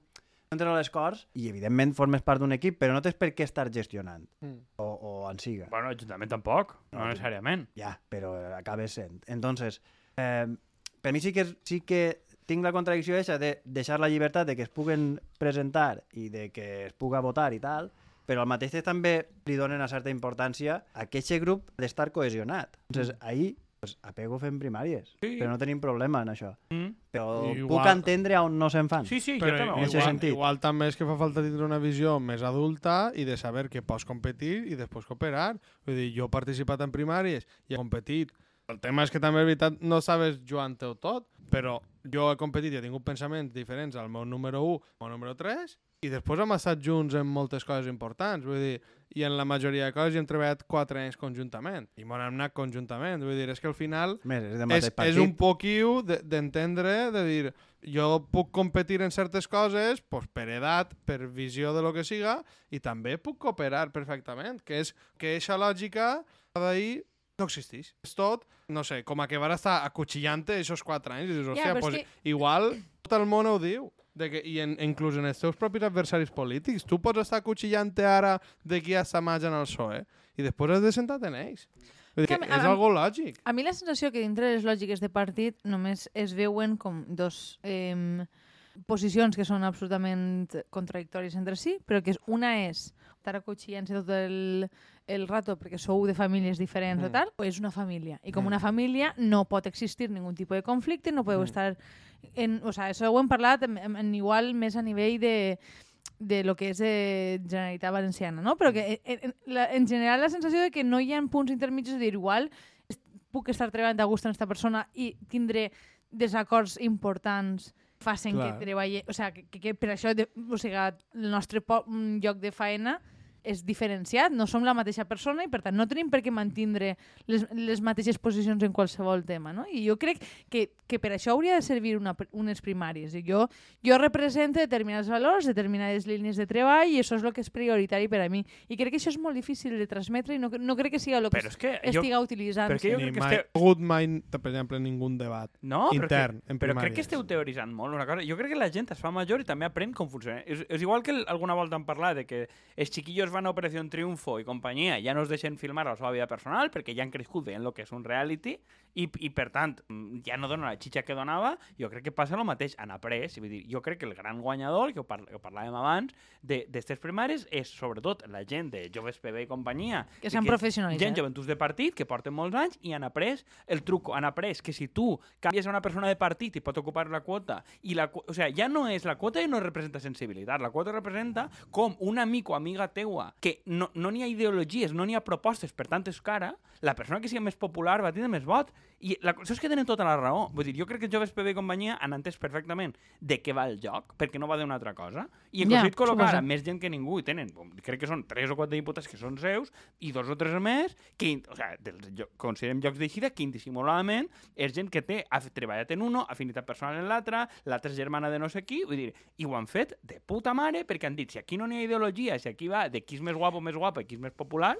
Speaker 4: entres a les Corts i, evidentment, formes part d'un equip, però no tens per què estar gestionant.
Speaker 1: Mm.
Speaker 4: O, o en siga.
Speaker 2: Bueno, l'Ajuntament tampoc, no necessàriament.
Speaker 4: Ja, però eh, acabes sent. Entonces, eh, per mi sí que, sí que tinc la contradicció aquesta de deixar la llibertat de que es puguen presentar i de que es puga votar i tal, però al mateix temps també li donen una certa importància a que aquest grup ha d'estar cohesionat. Entonces, ahir pues, apego fent primàries,
Speaker 2: Sí.
Speaker 4: però no tenim problema en això.
Speaker 2: Mm.
Speaker 4: Però
Speaker 1: Igual-
Speaker 4: puc entendre on no se'n fan.
Speaker 2: Sí, sí,
Speaker 1: Però
Speaker 2: jo també.
Speaker 1: igual,
Speaker 2: ho
Speaker 4: en aquest
Speaker 2: dic.
Speaker 1: igual,
Speaker 4: sentit.
Speaker 1: igual també és que fa falta tindre una visió més adulta i de saber que pots competir i després cooperar. Vull dir, jo he participat en primàries i he competit. El tema és que també, és veritat, no sabes jugant-te-ho tot, però jo he competit i he tingut pensaments diferents al meu número 1 o al número 3 i després hem estat junts en moltes coses importants. Vull dir, i en la majoria de coses hi hem treballat 4 anys conjuntament i m'ho hem anat conjuntament. Vull dir, és que al final
Speaker 4: Més, és de
Speaker 1: és,
Speaker 4: mateix
Speaker 1: és
Speaker 4: partit.
Speaker 1: un poquiu de- d'entendre, de, dir, jo puc competir en certes coses pues, per edat, per visió de lo que siga, i també puc cooperar perfectament, que és que eixa lògica d'ahir no existeix. És tot, no sé, com a que van estar acuchillant-te aquests quatre anys, i dius, hòstia,
Speaker 3: però és
Speaker 1: pues,
Speaker 3: que-
Speaker 1: igual tot el món ho diu. De que, I en, inclús en els teus propis adversaris polítics. Tu pots estar acuchillant-te ara de qui està maig en el PSOE E", i després has de sentar-te en ells. Vull dir
Speaker 3: Que
Speaker 1: que
Speaker 3: a-
Speaker 1: és
Speaker 3: a-
Speaker 1: algo lògic.
Speaker 3: A mi la sensació que dintre les lògiques de partit només es veuen com dos eh, posicions que són absolutament contradictòries entre si, però que és- una és estar acotxillant-se tot el, el rato perquè sou de famílies diferents o
Speaker 1: Mm.
Speaker 3: tal, o és una família. I com
Speaker 1: Mm.
Speaker 3: una família no pot existir ningú tipus de conflicte, no podeu estar... En, o sea, això ho hem parlat en, en, en igual més a nivell de de lo que és eh, Generalitat Valenciana, no?
Speaker 1: Mm.
Speaker 3: Però que eh, en, en, la, en general la sensació de que no hi ha punts intermitjos de dir igual puc estar treballant a gust amb aquesta persona i tindré desacords importants facin
Speaker 1: Clar.
Speaker 3: que treballe... O sigui, que, que per això de, o sigui, el nostre po- mm, lloc de faena és diferenciat, no som la mateixa persona i per tant no tenim per què mantindre les, les mateixes posicions en qualsevol tema. No? I jo crec que, que per això hauria de servir una, pr- unes primàries. I jo, jo represento determinats valors, determinades línies de treball i això és el que és prioritari per a mi. I crec que això és molt difícil de transmetre i no, no crec que sigui el que
Speaker 2: Però és que jo...
Speaker 3: estiga utilitzant.
Speaker 2: perquè jo
Speaker 1: ni
Speaker 2: crec que
Speaker 1: mai,
Speaker 2: esteu-
Speaker 1: ha hagut mai, per exemple, ningú debat.
Speaker 2: No, però
Speaker 1: Intern,
Speaker 2: que,
Speaker 1: en
Speaker 2: però crec
Speaker 1: primàries.
Speaker 2: que esteu teoritzant molt una cosa. Jo crec que la gent es fa major i també aprèn com funciona. És, és igual que el- alguna volta han parlat de que els xiquillos van a Operació Triunfo i companyia i ja no es deixen filmar la seva vida personal perquè ja han crescut veient el que és un reality i, i per tant mm, ja no dona la xitxa que donava. Jo crec que passa el mateix han après. Vull dir, jo crec que el gran guanyador, que ho, parl que ho parlàvem abans, de- d'estes primaris és sobretot la gent de joves PB i companyia.
Speaker 3: Que s'han
Speaker 2: és
Speaker 3: professionalitzat.
Speaker 2: Gent joventuts de partit que porten molts anys i han après el truco, han après que si tu canvies a una persona de partit i pot ocupar la quota, i la, cu- o sea, ja no és la quota i no representa sensibilitat, la quota representa com un amic o amiga teua que no no n'hi ha ideologies, no n'hi ha propostes, per tant és cara, la persona que sigui més popular va tindre més vot. I la cosa és que tenen tota la raó. Vull dir, jo crec que els joves PB i companyia han entès perfectament de què va el joc, perquè no va d'una altra cosa. I
Speaker 3: Ja,
Speaker 2: he aconseguit col·locar
Speaker 3: suposo.
Speaker 2: a més gent que ningú i tenen, bom, crec que són tres o quatre diputats que són seus i dos o tres més que, in- o sea, dels, jo, considerem llocs d'eixida que indissimuladament és gent que té, ha f- treballat en uno, afinitat personal en l'altre, l'altra és germana de no sé qui, vull dir, i ho han fet de puta mare perquè han dit, si aquí no n'hi ha ideologia, si aquí va de qui és més guapo, més guapa, i qui és més popular,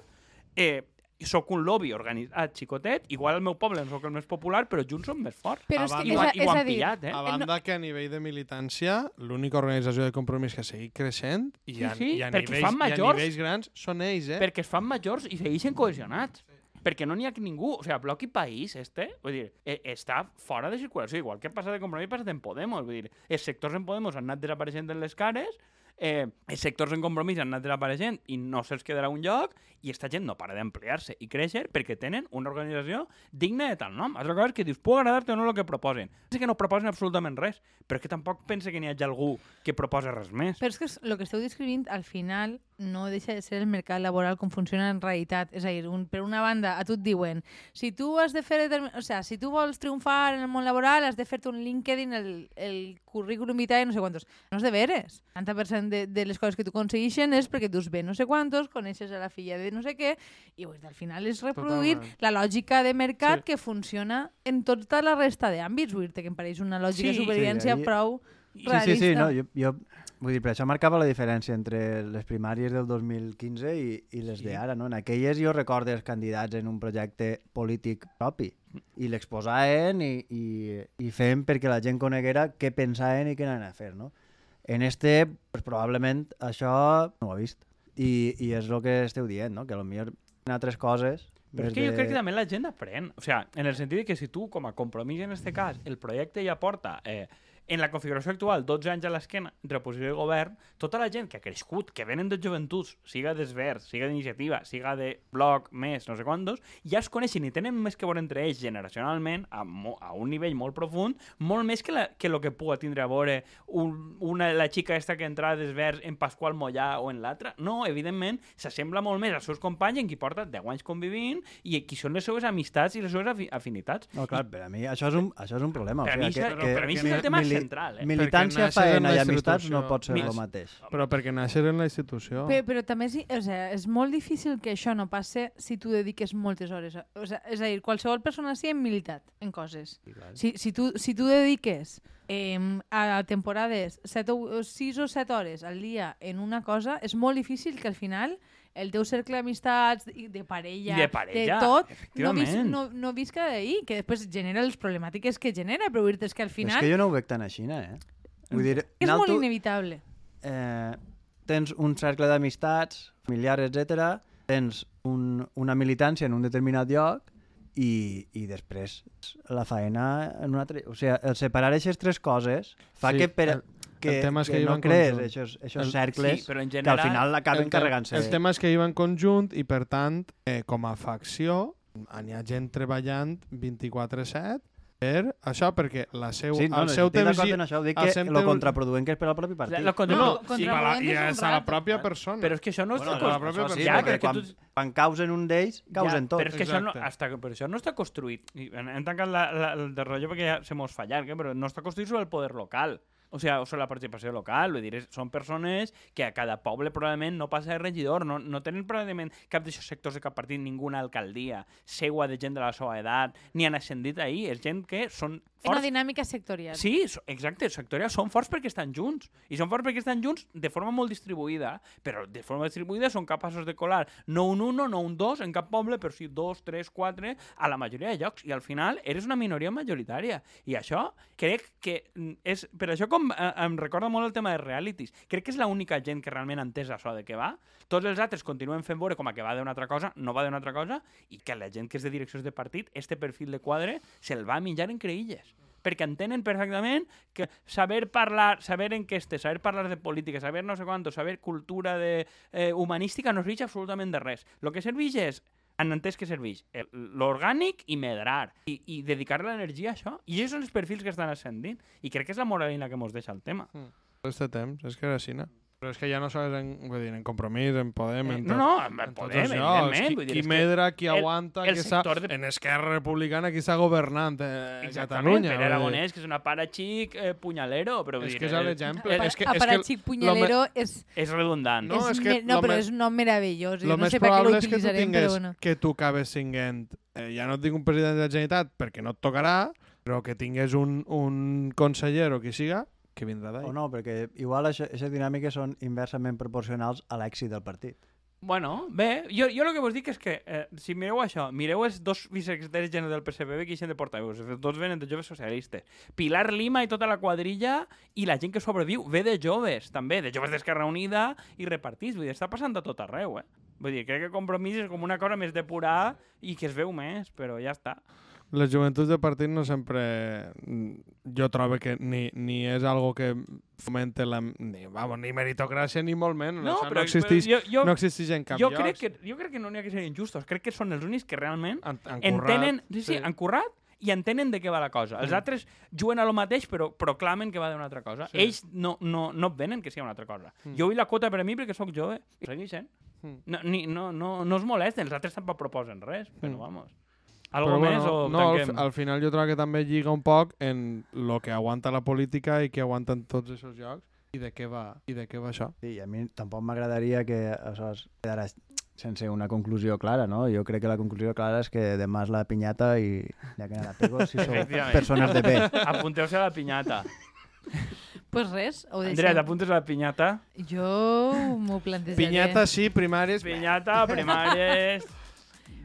Speaker 2: eh, sóc un lobby organitzat xicotet, igual al meu poble no sóc el més popular, però junts som més forts.
Speaker 3: Però és
Speaker 1: Abans-
Speaker 3: que,
Speaker 2: I, ho,
Speaker 3: és,
Speaker 2: han-
Speaker 3: a,
Speaker 2: i ho
Speaker 3: és a
Speaker 2: han
Speaker 3: dir,
Speaker 2: pillat, eh?
Speaker 1: A banda que a nivell de militància, l'única organització de compromís que ha seguit creixent i
Speaker 2: Sí,
Speaker 1: a,
Speaker 2: sí,
Speaker 1: i a,
Speaker 2: perquè
Speaker 1: nivells,
Speaker 2: fan
Speaker 1: i a
Speaker 2: majors.
Speaker 1: nivells grans són ells, eh?
Speaker 2: Perquè es fan majors i segueixen cohesionats. perquè no n'hi ha ningú. O sigui, Bloc i País, este, vull dir, eh, està fora de circulació. Igual que passa de Compromís, passa en Podemos. Vull dir, els sectors en Podemos han anat desapareixent de les cares, eh, els sectors en compromís han anat desapareixent i no se'ls quedarà un lloc i esta gent no para d'ampliar-se i créixer perquè tenen una organització digna de tal nom. Altra cosa és que dius, puc agradar-te o no el que proposen. Sé que no proposen absolutament res, però és que tampoc pensa que n'hi hagi algú que proposa res més.
Speaker 3: Però és que el que esteu descrivint, al final, no deixa de ser el mercat laboral com funciona en realitat. És a dir, un, per una banda, a tu et diuen si tu has de fer determin... o sea, si tu vols triomfar en el món laboral, has de fer-te un LinkedIn, el, el currículum vitae, no sé quantos. No és de veres. 90% de, de les coses que tu aconsegueixen és perquè dus bé no sé quantos, coneixes a la filla de no sé què, i pues, al final és reproduir
Speaker 1: Totalment.
Speaker 3: la lògica de mercat
Speaker 2: Sí.
Speaker 3: sí. que funciona en tota la resta d'àmbits. Vull dir que em pareix una lògica
Speaker 2: Sí.
Speaker 3: de supervivència
Speaker 4: Sí, ahí-
Speaker 3: prou
Speaker 4: Sí, sí, sí,
Speaker 3: realista.
Speaker 4: no, jo, jo, vull dir, per això marcava la diferència entre les primàries del 2015 i, i les
Speaker 2: Sí.
Speaker 4: sí. d'ara, no? En aquelles jo recordo els candidats en un projecte polític propi i l'exposaven i, i, i feien perquè la gent coneguera què pensaven i què anaven a fer, no? En este, pues, probablement això no ho ha vist. I, i és el que esteu dient, no? Que potser en altres coses...
Speaker 2: Però és
Speaker 4: des
Speaker 2: que jo
Speaker 4: de-
Speaker 2: crec que també la gent aprèn. O sigui, en el sentit de que si tu, com a compromís en aquest cas, el projecte ja porta... Eh, en la configuració actual, 12 anys a l'esquena, entre oposició i govern, tota la gent que ha crescut, que venen de joventuts, siga d'Esvers, siga d'iniciativa, siga de bloc, més, no sé quantos, ja es coneixen i tenen més que veure entre ells generacionalment, a, mo a un nivell molt profund, molt més que, la, que lo que puga tindre a veure un, una, la xica esta que entra desvers en Pasqual Mollà o en l'altra. No, evidentment, s'assembla molt més als seus companys en qui porta 10 anys convivint i qui són les seves amistats i les seves afi afinitats.
Speaker 4: No, clar, per a mi això és un, això és un problema.
Speaker 2: Per a
Speaker 4: o sigui,
Speaker 2: mi això-
Speaker 4: que, que,
Speaker 2: per a mi això és el tema central, eh? Perquè
Speaker 1: naixes
Speaker 4: Militància,
Speaker 1: en la
Speaker 4: faena i amistats
Speaker 1: institució.
Speaker 4: no pot ser el
Speaker 1: Mil-
Speaker 4: mateix.
Speaker 1: Però perquè naixer en la institució...
Speaker 3: Però, però també és, o sea, és molt difícil que això no passe si tu dediques moltes hores. A, o sea, és a dir, qualsevol persona sí en militat, en coses. Si, si, tu, si tu dediques eh, a temporades 7 o, 6 o 7 hores al dia en una cosa, és molt difícil que al final el teu cercle d'amistats, i de parella,
Speaker 2: I de parella,
Speaker 3: de tot, no, vis,
Speaker 2: efectivament.
Speaker 3: no, no visca d'ahir, que després genera les problemàtiques que genera, però dir és que al
Speaker 4: Final...
Speaker 3: final
Speaker 4: És que
Speaker 3: és,
Speaker 4: jo no ho veig tan així, eh? Vull dir,
Speaker 3: que és molt
Speaker 4: nalto,
Speaker 3: inevitable.
Speaker 4: eh, tens un cercle d'amistats, familiars, etc. Tens un, una militància en un determinat lloc i, i després la faena en un altre... O sigui, el separar aquestes tres coses fa
Speaker 1: Sí,
Speaker 4: que per...
Speaker 1: el-
Speaker 4: que,
Speaker 1: el tema és que
Speaker 4: que
Speaker 1: hi va
Speaker 4: no
Speaker 1: en
Speaker 4: crees
Speaker 1: conjunt.
Speaker 4: aquests,
Speaker 1: El-
Speaker 4: aquests cercles
Speaker 2: Sí, però en
Speaker 4: que al
Speaker 2: general-
Speaker 4: final l'acaben
Speaker 1: te-
Speaker 4: carregant-se.
Speaker 1: El tema és que hi va en conjunt i, per tant, eh, com a facció, hi ha gent treballant 24-7 per això, perquè la seu,
Speaker 4: Sí, no,
Speaker 1: el
Speaker 4: no,
Speaker 1: seu
Speaker 4: estic
Speaker 1: temps...
Speaker 4: d'acord
Speaker 1: lli-
Speaker 4: en això, dic
Speaker 1: el
Speaker 4: que
Speaker 1: seu
Speaker 4: el
Speaker 1: temps-
Speaker 4: contraproduent que és per al propi partit.
Speaker 2: La, la
Speaker 1: No,
Speaker 2: contra...
Speaker 1: no,
Speaker 3: contra-
Speaker 1: sí,
Speaker 3: contra-
Speaker 1: la, i
Speaker 3: és un
Speaker 1: és a la
Speaker 3: rato.
Speaker 1: pròpia persona.
Speaker 2: Ah. Però és que això no
Speaker 4: Bueno,
Speaker 1: la
Speaker 2: està... cons-
Speaker 1: pròpia
Speaker 4: això sí,
Speaker 1: persona.
Speaker 2: Ja, que,
Speaker 4: perquè
Speaker 2: que
Speaker 4: quan,
Speaker 2: tu...
Speaker 4: quan causen un d'ells, causen
Speaker 2: Però
Speaker 4: tots.
Speaker 2: és que això no,
Speaker 1: Exacte.
Speaker 2: hasta, que- però això no està construït. I Hem hem tancat la, la, el de rotllo perquè ja se mos fa llarg, eh? però no està construït sobre el poder local. O sigui, o sobre la participació local, vull dir, és- són persones que a cada poble probablement no passa de regidor, no, no tenen probablement cap d'aquests sectors de cap partit, ninguna alcaldia, seua de gent de la seva edat, ni han ascendit ahir, és gent que són
Speaker 3: És una
Speaker 2: forts
Speaker 3: dinàmica sectorial.
Speaker 2: Sí, so- exacte, sectorials són forts perquè estan junts. I són forts perquè estan junts de forma molt distribuïda, però de forma distribuïda són capaços de colar no un 1, no un 2 en cap poble, però sí dos, tres, quatre, a la majoria de llocs. I al final eres una minoria majoritària. I això crec que mm, és... Per això com eh, em recorda molt el tema de realities. Crec que és l'única gent que realment ha entès això de què va. Tots els altres continuen fent veure com a que va d'una altra cosa, no va d'una altra cosa, i que la gent que és de direccions de partit, este perfil de quadre, se'l va a menjar en creïlles perquè entenen perfectament que saber parlar, saber enquestes, saber parlar de política, saber no sé quanto, saber cultura de, eh, humanística no serveix absolutament de res. El que serveix és han entès que serveix el- l'orgànic i medrar i, i dedicar l'energia a això. I aquests són els perfils que estan ascendint. I crec que és la moralina que mos deixa el tema.
Speaker 1: Este temps, és que era així, no? Però és que ja no sols en, vull dir, en Compromís, en Podem...
Speaker 2: Eh,
Speaker 1: en
Speaker 2: no,
Speaker 1: tot.
Speaker 2: no, en
Speaker 1: En tots
Speaker 2: Podem,
Speaker 1: els llocs.
Speaker 2: evidentment.
Speaker 1: Qui,
Speaker 2: vull dir,
Speaker 1: qui
Speaker 2: és que-
Speaker 1: medra, qui
Speaker 2: el-
Speaker 1: aguanta,
Speaker 2: el
Speaker 1: qui està...
Speaker 2: sector de-
Speaker 1: En Esquerra Republicana, qui està governant eh, a
Speaker 2: Exactament,
Speaker 1: Catalunya.
Speaker 2: Pere Aragonès, que és una para xic eh, punyalero, però vull
Speaker 1: És
Speaker 2: dir,
Speaker 1: que és
Speaker 2: eh,
Speaker 1: l'exemple.
Speaker 2: eh,
Speaker 1: És
Speaker 3: És
Speaker 1: que-
Speaker 3: que,
Speaker 1: és que
Speaker 3: Aparachic
Speaker 1: lo me-
Speaker 3: Puñalero és,
Speaker 2: És redundant.
Speaker 1: No,
Speaker 3: no,
Speaker 1: és
Speaker 3: és,
Speaker 1: que
Speaker 3: me- no
Speaker 1: lo
Speaker 3: però
Speaker 1: me-
Speaker 3: és un nom meravellós.
Speaker 1: El
Speaker 3: jo no
Speaker 1: més
Speaker 3: sé per què
Speaker 1: probable és que tu
Speaker 3: l'utilitzarem,
Speaker 1: tingues
Speaker 3: però bueno.
Speaker 1: que tu acabes sent, eh, ja no et dic un president de la Generalitat perquè no et tocarà, però que tingues un, un conseller o qui siga que vindrà d'ahir.
Speaker 4: O no, perquè igual aquestes dinàmiques són inversament proporcionals a l'èxit del partit.
Speaker 2: Bueno, bé, jo, jo el que vos dic és que, eh, si mireu això, mireu els dos vicesecretaris generals del PSPB que hi de portaveus, els dos venen de joves socialistes. Pilar Lima i tota la quadrilla i la gent que sobreviu ve de joves, també, de joves d'Esquerra Unida i repartits, vull dir, està passant de tot arreu, eh? Vull dir, crec que compromís és com una cosa més depurada i que es veu més, però ja està.
Speaker 1: Les joventuts de partit no sempre... mm, Jo trobo que ni, ni és algo que fomente la... Ni, vamos, ni meritocràcia ni molt menys. Això no, existeix,
Speaker 2: jo, jo,
Speaker 1: no existeix en cap
Speaker 2: jo,
Speaker 1: lloc.
Speaker 2: crec que, jo crec que no n'hi ha que ser injustos. Crec que són els únics que realment
Speaker 1: En, en
Speaker 2: entenen, sí, sí, han currat i entenen de què va la cosa.
Speaker 1: Mm.
Speaker 2: Els altres juguen a lo mateix però proclamen que va d'una altra cosa.
Speaker 1: Sí.
Speaker 2: Sí. Ells no, no, no venen que sigui una altra cosa.
Speaker 1: Mm.
Speaker 2: Mm. Jo vull la quota per a mi perquè sóc jove. I segueix sent.
Speaker 1: Mm.
Speaker 2: No, ni, no, no, no es molesten, els altres tampoc proposen res, però
Speaker 1: Mm.
Speaker 2: vamos. Algo més o
Speaker 1: no, al,
Speaker 2: tanquem?
Speaker 1: fi- al final jo trobo que també lliga un poc en lo que aguanta la política i que aguanten tots aquests jocs i de què va, i de què va això.
Speaker 4: Sí, i a mi tampoc m'agradaria que això es quedara sense una conclusió clara, no? Jo crec que la conclusió clara és que demà és la pinyata i ja que anar a pego si sou
Speaker 2: Efectivament.
Speaker 4: persones de bé.
Speaker 2: Apunteu-se a la pinyata.
Speaker 3: pues res, ho deixem.
Speaker 2: Andrea, t'apuntes a la pinyata?
Speaker 3: Jo m'ho plantejaré.
Speaker 1: Pinyata sí, primàries...
Speaker 2: Pinyata, primàries...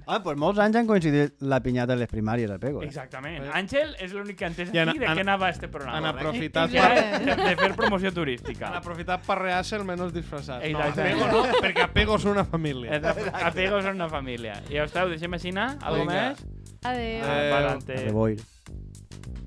Speaker 4: Ah, doncs molts anys han coincidit la pinyata i les primàries a pego. Eh?
Speaker 2: Exactament.
Speaker 1: Eh.
Speaker 2: Àngel és l'únic que ha entès
Speaker 1: I han-
Speaker 2: aquí de
Speaker 1: han-
Speaker 2: què anava este programa.
Speaker 1: Han aprofitat
Speaker 2: Ja,
Speaker 1: per,
Speaker 2: de, de fer promoció turística.
Speaker 1: han aprofitat per rear-se el menys disfressat. No,
Speaker 2: Exacte.
Speaker 1: apego no, perquè apego és una
Speaker 2: Eh,
Speaker 1: família.
Speaker 2: Apegos són una família. I ja està, ho deixem així anar? Algo
Speaker 1: Vinga.
Speaker 2: més?
Speaker 3: Adéu.
Speaker 1: Adéu.
Speaker 2: Eh, Adelante.
Speaker 4: A reboir.